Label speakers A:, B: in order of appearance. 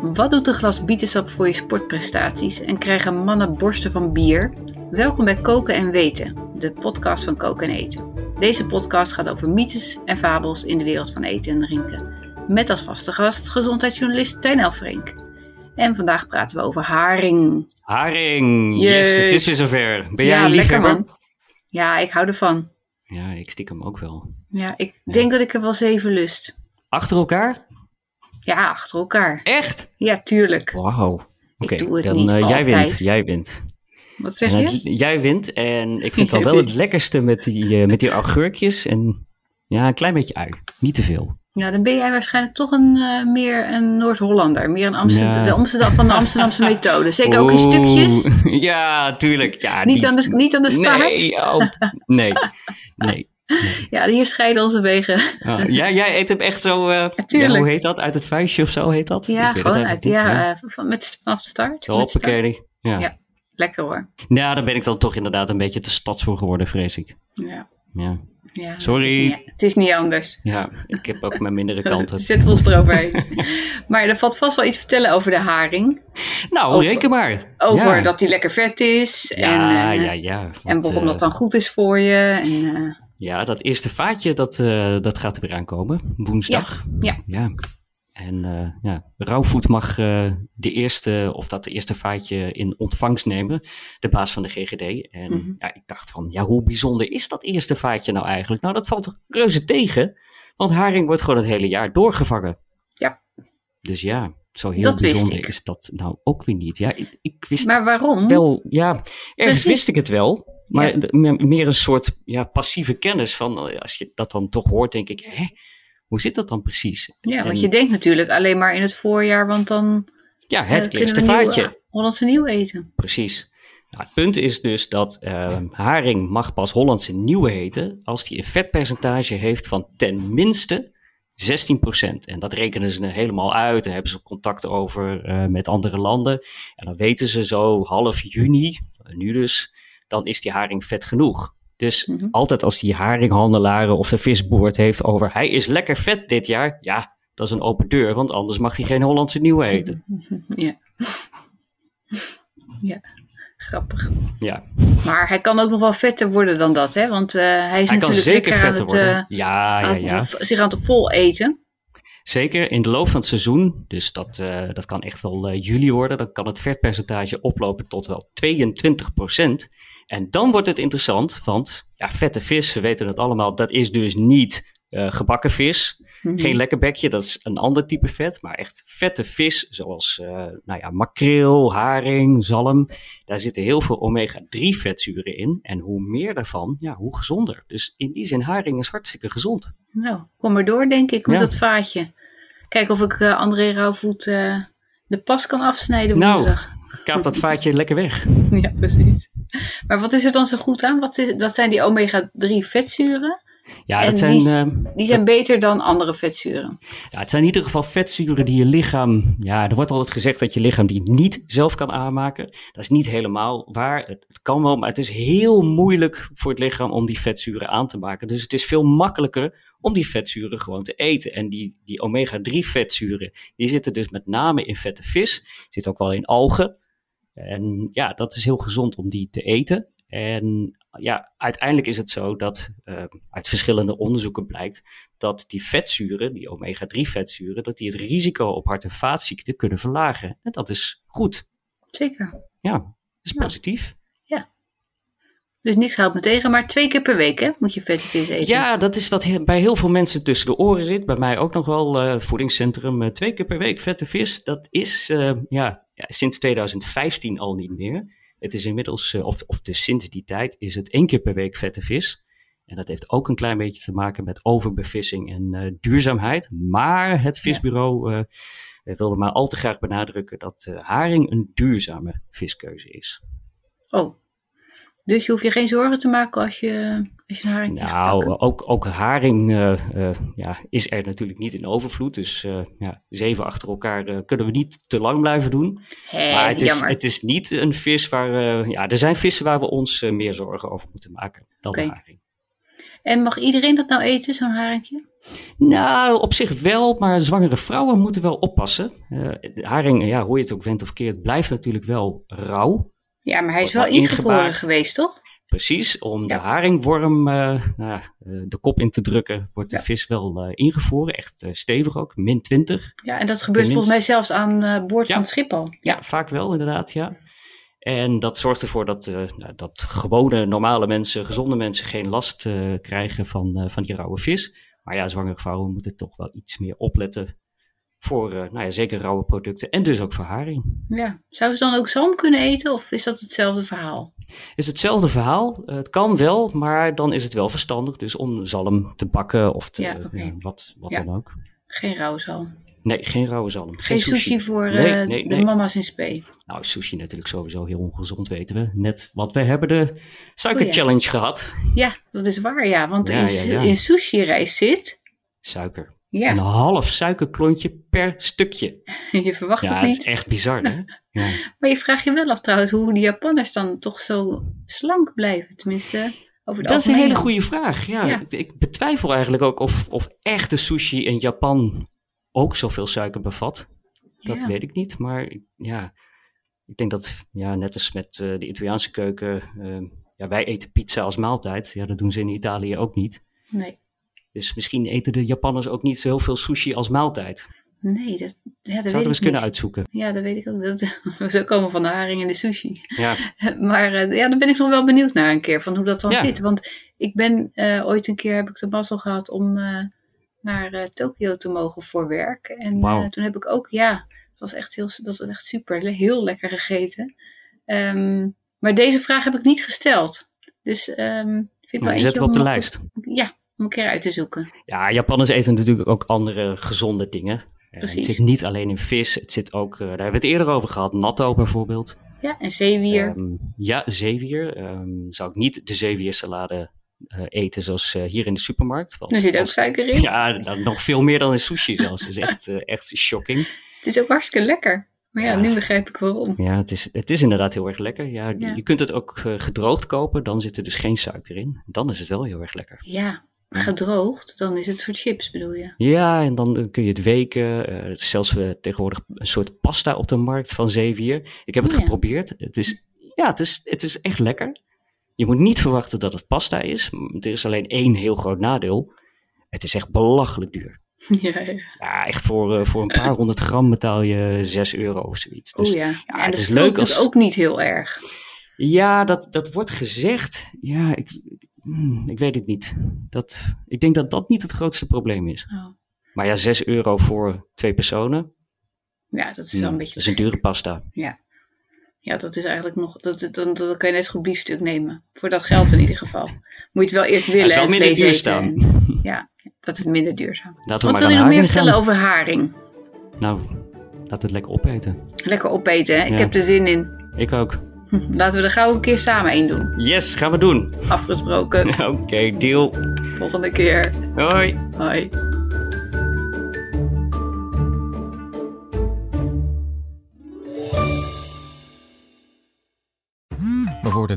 A: Wat doet een glas bietensap voor je sportprestaties en krijgen mannen borsten van bier? Welkom bij Koken en Weten, de podcast van Koken en Eten. Deze podcast gaat over mythes en fabels in de wereld van eten en drinken. Met als vaste gast gezondheidsjournalist Tijn Elfrink. En vandaag praten we over haring.
B: Haring!
A: Yay.
B: Yes, het is weer zover. Ben jij
A: ja,
B: een
A: lekker
B: liefhebber?
A: man. Ja, ik hou ervan.
B: Ja, ik stiekem ook wel.
A: Ja, ik denk dat ik er wel zeven lust.
B: Achter elkaar?
A: Ja, achter elkaar.
B: Echt?
A: Ja, tuurlijk.
B: Wauw. Oké,
A: doe het
B: dan
A: niet
B: eh, jij
A: altijd.
B: wint. Jij wint.
A: Wat zeg
B: En het-
A: je?
B: jij wint en ik vind het al
A: Jij
B: wel het
A: wint.
B: lekkerste met die, eh, met die augurkjes en ja, een klein beetje ui. Niet te veel.
A: Nou, dan ben jij waarschijnlijk toch een, eh, meer een Noord-Hollander. Meer een Amsterdam,
B: Ja.
A: de Amsterdam, van de Amsterdamse methode. Zeker ook in stukjes.
B: Oeh, Ja, tuurlijk. Ja,
A: Niet aan de, niet aan de staart.
B: Nee, oh, nee. nee.
A: Ja, hier scheiden onze wegen.
B: Ah, jij, jij eet hem echt zo, eh,
A: tuurlijk.
B: ja, hoe heet dat? Uit het vuistje of zo heet dat?
A: Ja,
B: Ik weet het
A: gewoon
B: eigenlijk
A: uit,
B: niet, hè?
A: ja, eh, van, met, vanaf de start.
B: Zo,
A: Met de start.
B: hoppakee. Ja.
A: Ja. Lekker hoor.
B: Ja, Nou, daar ben ik dan toch inderdaad een beetje te stads voor geworden, vrees ik.
A: Ja.
B: Ja,
A: Ja,
B: Sorry.
A: Het is niet, het is niet anders.
B: ja ik heb ook mijn mindere kanten.
A: Zet ons eroverheen. Maar er valt vast wel iets te vertellen over de haring.
B: Nou,
A: Over-
B: reken maar.
A: Over
B: ja.
A: dat die lekker vet is.
B: Ja,
A: en, eh,
B: ja, ja.
A: en
B: want,
A: waarom
B: eh,
A: dat dan goed is voor je. En, eh,
B: Ja, dat eerste vaatje, dat, eh, dat gaat er weer aankomen. Woensdag.
A: ja.
B: ja. En eh ja, Rauwvoet mag eh, de eerste, of dat de eerste vaatje in ontvangst nemen. De baas van de GGD. En
A: Mhm.
B: ja, ik dacht van, ja, hoe bijzonder is dat eerste vaatje nou eigenlijk? Nou, dat valt toch reuze tegen. Want haring wordt gewoon het hele jaar doorgevangen.
A: Ja.
B: Dus ja, zo heel
A: Dat wist ik.
B: bijzonder is dat nou ook weer niet. Ja, ik, ik wist
A: maar
B: het
A: waarom?
B: wel, ja, ergens
A: Precies.
B: wist ik het wel. Maar
A: Ja.
B: d- me- meer een soort ja, passieve kennis van, eh, als je dat dan toch hoort, denk ik, hè, hoe zit dat dan precies?
A: Ja, want
B: En-
A: je denkt natuurlijk alleen maar in het voorjaar, want dan
B: Ja, het
A: eh,
B: eerste
A: nieuw-
B: vaatje.
A: Hollandse nieuw eten.
B: Precies. Nou, het punt is dus dat eh, haring mag pas Hollandse nieuwe heten als die een vetpercentage heeft van ten minste 16%. En dat rekenen ze helemaal uit. Daar hebben ze contact over eh, met andere landen. En dan weten ze zo half juni, nu dus, dan is die haring vet genoeg. Dus
A: Mhm.
B: altijd als die haringhandelaren of de visboord heeft over hij is lekker vet dit jaar, ja, dat is een open deur, want anders mag hij geen Hollandse nieuwe heten.
A: Ja. ja, grappig.
B: Ja.
A: Maar hij kan ook nog wel vetter worden dan dat, hè? Want eh, hij is
B: Hij kan
A: natuurlijk
B: zeker
A: lekker aan
B: vetter
A: het,
B: worden. Ah,
A: eh,
B: ja, ja,
A: aan het-
B: ja.
A: zich aan het vol eten.
B: Zeker in de loop van het seizoen, dus dat, eh, dat kan echt wel eh, juli worden, dan kan het vetpercentage oplopen tot wel 22%. En dan wordt het interessant, want ja, vette vis, we weten het allemaal, dat is dus niet eh, gebakken vis.
A: Mhm.
B: Geen lekker bekje, dat is een ander type vet, maar echt vette vis, zoals eh, nou ja, makreel, haring, zalm. Daar zitten heel veel omega-3 vetzuren in. En hoe meer daarvan, ja, hoe gezonder. Dus in die zin, haring is hartstikke gezond.
A: Nou, kom maar door, denk ik, met
B: Ja.
A: dat vaatje. Kijken of ik eh, André Rauwvoet eh, de pas kan afsnijden
B: Nou.
A: woensdag.
B: Kaap dat vaatje lekker weg.
A: Ja, precies. Maar wat is er dan zo goed aan? Wat is, dat zijn die omega-3 vetzuren.
B: Ja,
A: En
B: dat
A: die
B: zijn,
A: is-
B: eh,
A: Die zijn beter dan andere vetzuren.
B: ja, het zijn in ieder geval vetzuren die je lichaam. Ja, er wordt altijd gezegd dat je lichaam die niet zelf kan aanmaken. Dat is niet helemaal waar. Het, het kan wel, maar het is heel moeilijk voor het lichaam om die vetzuren aan te maken. Dus het is veel makkelijker om die vetzuren gewoon te eten. En die, die omega-3 vetzuren, die zitten dus met name in vette vis. Zit ook wel in algen. En ja, dat is heel gezond om die te eten. En ja, uiteindelijk is het zo dat eh, uit verschillende onderzoeken blijkt dat die vetzuren, die omega-3 vetzuren, dat die het risico op hart- en vaatziekten kunnen verlagen. En dat is goed.
A: Zeker.
B: Ja, dat is
A: Ja.
B: positief.
A: Dus niks houdt me tegen, maar twee keer per week hè, moet je vette vis eten.
B: Ja, dat is wat he- bij heel veel mensen tussen de oren zit. Bij mij ook nog wel. eh, voedingscentrum eh, twee keer per week vette vis. Dat is eh, ja, ja, sinds 2015 al niet meer. Het is inmiddels, eh, of, of dus sinds die tijd, is het één keer per week vette vis. En dat heeft ook een klein beetje te maken met overbevissing en eh, duurzaamheid. Maar het visbureau eh, We wilden maar al te graag benadrukken dat eh, haring een duurzame viskeuze is.
A: Oh, dus je hoeft je geen zorgen te maken als je, als je een haring gaat
B: Nou,
A: pakken?
B: ook, ook haring eh, eh, ja, is er natuurlijk niet in overvloed. Dus eh, ja, zeven achter elkaar eh, kunnen we niet te lang blijven doen.
A: Hé,
B: Maar het is,
A: jammer.
B: het is niet een vis waar. eh, ja, er zijn vissen waar we ons eh, meer zorgen over moeten maken dan
A: Oké.
B: haring.
A: En mag iedereen dat nou eten, zo'n haringje?
B: Nou, op zich wel, maar zwangere vrouwen moeten wel oppassen. Eh, de haring, ja, hoe je het ook went of keert, blijft natuurlijk wel rauw.
A: Ja, maar hij is
B: Wordt
A: wel
B: wel
A: ingevroren
B: ingebaard.
A: geweest, toch?
B: Precies, om de
A: Ja.
B: haringworm eh, nou ja, eh, de kop in te drukken, wordt de
A: Ja.
B: vis wel eh, ingevroren. Echt eh, stevig ook, min 20.
A: Ja, en dat gebeurt volgens mij zelfs aan eh, boord
B: Ja.
A: van het schip al.
B: Ja, vaak wel inderdaad, ja. En dat zorgt ervoor dat, eh, nou, dat gewone, normale mensen, gezonde mensen geen last eh, krijgen van, eh, van die rauwe vis. Maar ja, zwangere vrouwen moeten toch wel iets meer opletten voor, eh, nou ja, zeker rauwe producten en dus ook voor haring.
A: Ja. Zouden ze dan ook zalm kunnen eten of is dat hetzelfde verhaal?
B: is hetzelfde verhaal. Eh, het kan wel, maar dan is het wel verstandig dus om zalm te bakken of te,
A: Ja, oké.
B: eh, wat, wat
A: Ja.
B: dan ook.
A: Geen rauw zalm.
B: Nee, geen rauwe zalm. Geen,
A: Geen sushi, voor eh, de mama's in spe.
B: Nou, sushi natuurlijk sowieso heel ongezond, weten we. Net, want we hebben de
A: Oh
B: suikerchallenge gehad.
A: Ja, dat is waar, ja. Want
B: Ja,
A: in,
B: ja,
A: su-
B: ja.
A: in sushi-rijst zit...
B: Suiker.
A: Ja,
B: Een half suikerklontje per stukje.
A: je verwacht
B: Ja,
A: het
B: dat
A: niet.
B: is echt bizar, hè? Ja.
A: Maar je vraagt je wel af trouwens hoe de Japanners dan toch zo slank blijven. Tenminste, over het
B: Dat is een
A: algemeen.
B: hele goede vraag. Ja,
A: Ja.
B: Ik, ik betwijfel eigenlijk ook of, of echte sushi in Japan ook zoveel suiker bevat. Dat
A: Ja.
B: weet ik niet, maar ik- ja, ik denk dat ja, net als met eh, de Italiaanse keuken, eh, ja, wij eten pizza als maaltijd. Ja, dat doen ze in Italië ook niet.
A: Nee,
B: Dus misschien eten de Japanners ook niet zo heel veel sushi als maaltijd.
A: nee dat, ja, dat
B: Zouden
A: weet
B: we eens
A: ik
B: kunnen
A: niet.
B: uitzoeken.
A: Ja, dat weet ik ook. Dat, zo komen we van de haring en de sushi.
B: Ja.
A: Maar eh, ja, daar ben ik nog wel benieuwd naar een keer, van hoe dat dan
B: Ja.
A: zit. Want ik ben eh, ooit een keer, heb ik de mazzel gehad om eh, naar eh, Tokio te mogen voor werk. En
B: Wauw.
A: eh, toen heb ik ook, ja, het was echt, heel, dat was echt super, le- heel lekker gegeten. Ehm, maar deze vraag heb ik niet gesteld. Dus ehm, vind ik wel
B: Nou, die
A: eentje
B: zetten we op de
A: om-
B: lijst.
A: Ja, om een keer uit te zoeken.
B: Ja, Japanners eten natuurlijk ook andere gezonde dingen. Eh,
A: Precies.
B: Het zit niet alleen in vis, het zit ook, eh, daar hebben we het eerder over gehad, natto bijvoorbeeld.
A: Ja, en zeewier.
B: Ehm, ja, zeewier. Ehm, zou ik niet de zeewiersalade eh, eten zoals eh, hier in de supermarkt. Want
A: er zit ook
B: als-
A: suiker in.
B: Ja, nou, nog veel meer dan in sushi zelfs. Dat is echt, eh, echt shocking.
A: Het is ook hartstikke lekker. Maar ja,
B: Ja.
A: nu begrijp ik waarom.
B: Ja, het is, het is inderdaad heel erg lekker. Ja,
A: Ja.
B: Je kunt het ook eh, gedroogd kopen, dan zit er dus geen suiker in. Dan is het wel heel erg lekker.
A: Ja, maar gedroogd, dan is het voor chips bedoel je.
B: Ja, en dan eh, kun je het weken. Eh, Er is zelfs eh, tegenwoordig een soort pasta op de markt van zeewier. Ik heb het
A: Oh ja.
B: geprobeerd. Het is, ja, het is, het is echt lekker. Je moet niet verwachten dat het pasta is. M, Er is alleen één heel groot nadeel. Het is echt belachelijk duur.
A: Ja, ja.
B: Ja, echt voor, eh, voor een paar honderd gram betaal je 6 euro of zoiets. Dus
A: oh ja. en
B: het
A: dat
B: is
A: vult
B: leuk
A: natuurlijk
B: als-
A: ook niet heel erg.
B: ja, dat, dat wordt gezegd. Ja, ik, mm, ik weet het niet. Dat, ik denk dat dat niet het grootste probleem is.
A: Oh.
B: Maar ja, 6 euro voor twee personen.
A: Ja, dat is wel
B: Hmm,
A: een beetje.
B: Dat is een
A: te gek.
B: dure pasta.
A: Ja, dat is eigenlijk nog. Dat, dat, dan, dan kan je net zo goed biefstuk nemen. Voor dat geld in ieder geval. Moet je het wel eerst willen.
B: zou
A: en
B: minder
A: vlees
B: duur
A: eten
B: staan.
A: en- ja, dat is minder duurzaam.
B: Laten we
A: Wat
B: maar
A: wil
B: aan
A: je nog
B: haring
A: meer vertellen
B: gaan.
A: over haring?
B: Nou, laten we het lekker opeten.
A: Lekker opeten, hè? Ik
B: Ja.
A: heb er zin in.
B: Ik ook.
A: Hm, Laten we er gauw een keer samen één doen.
B: Yes, gaan we doen.
A: Afgesproken.
B: Oké, deal.
A: Volgende keer.
B: Hoi.
A: Hoi.
C: We worden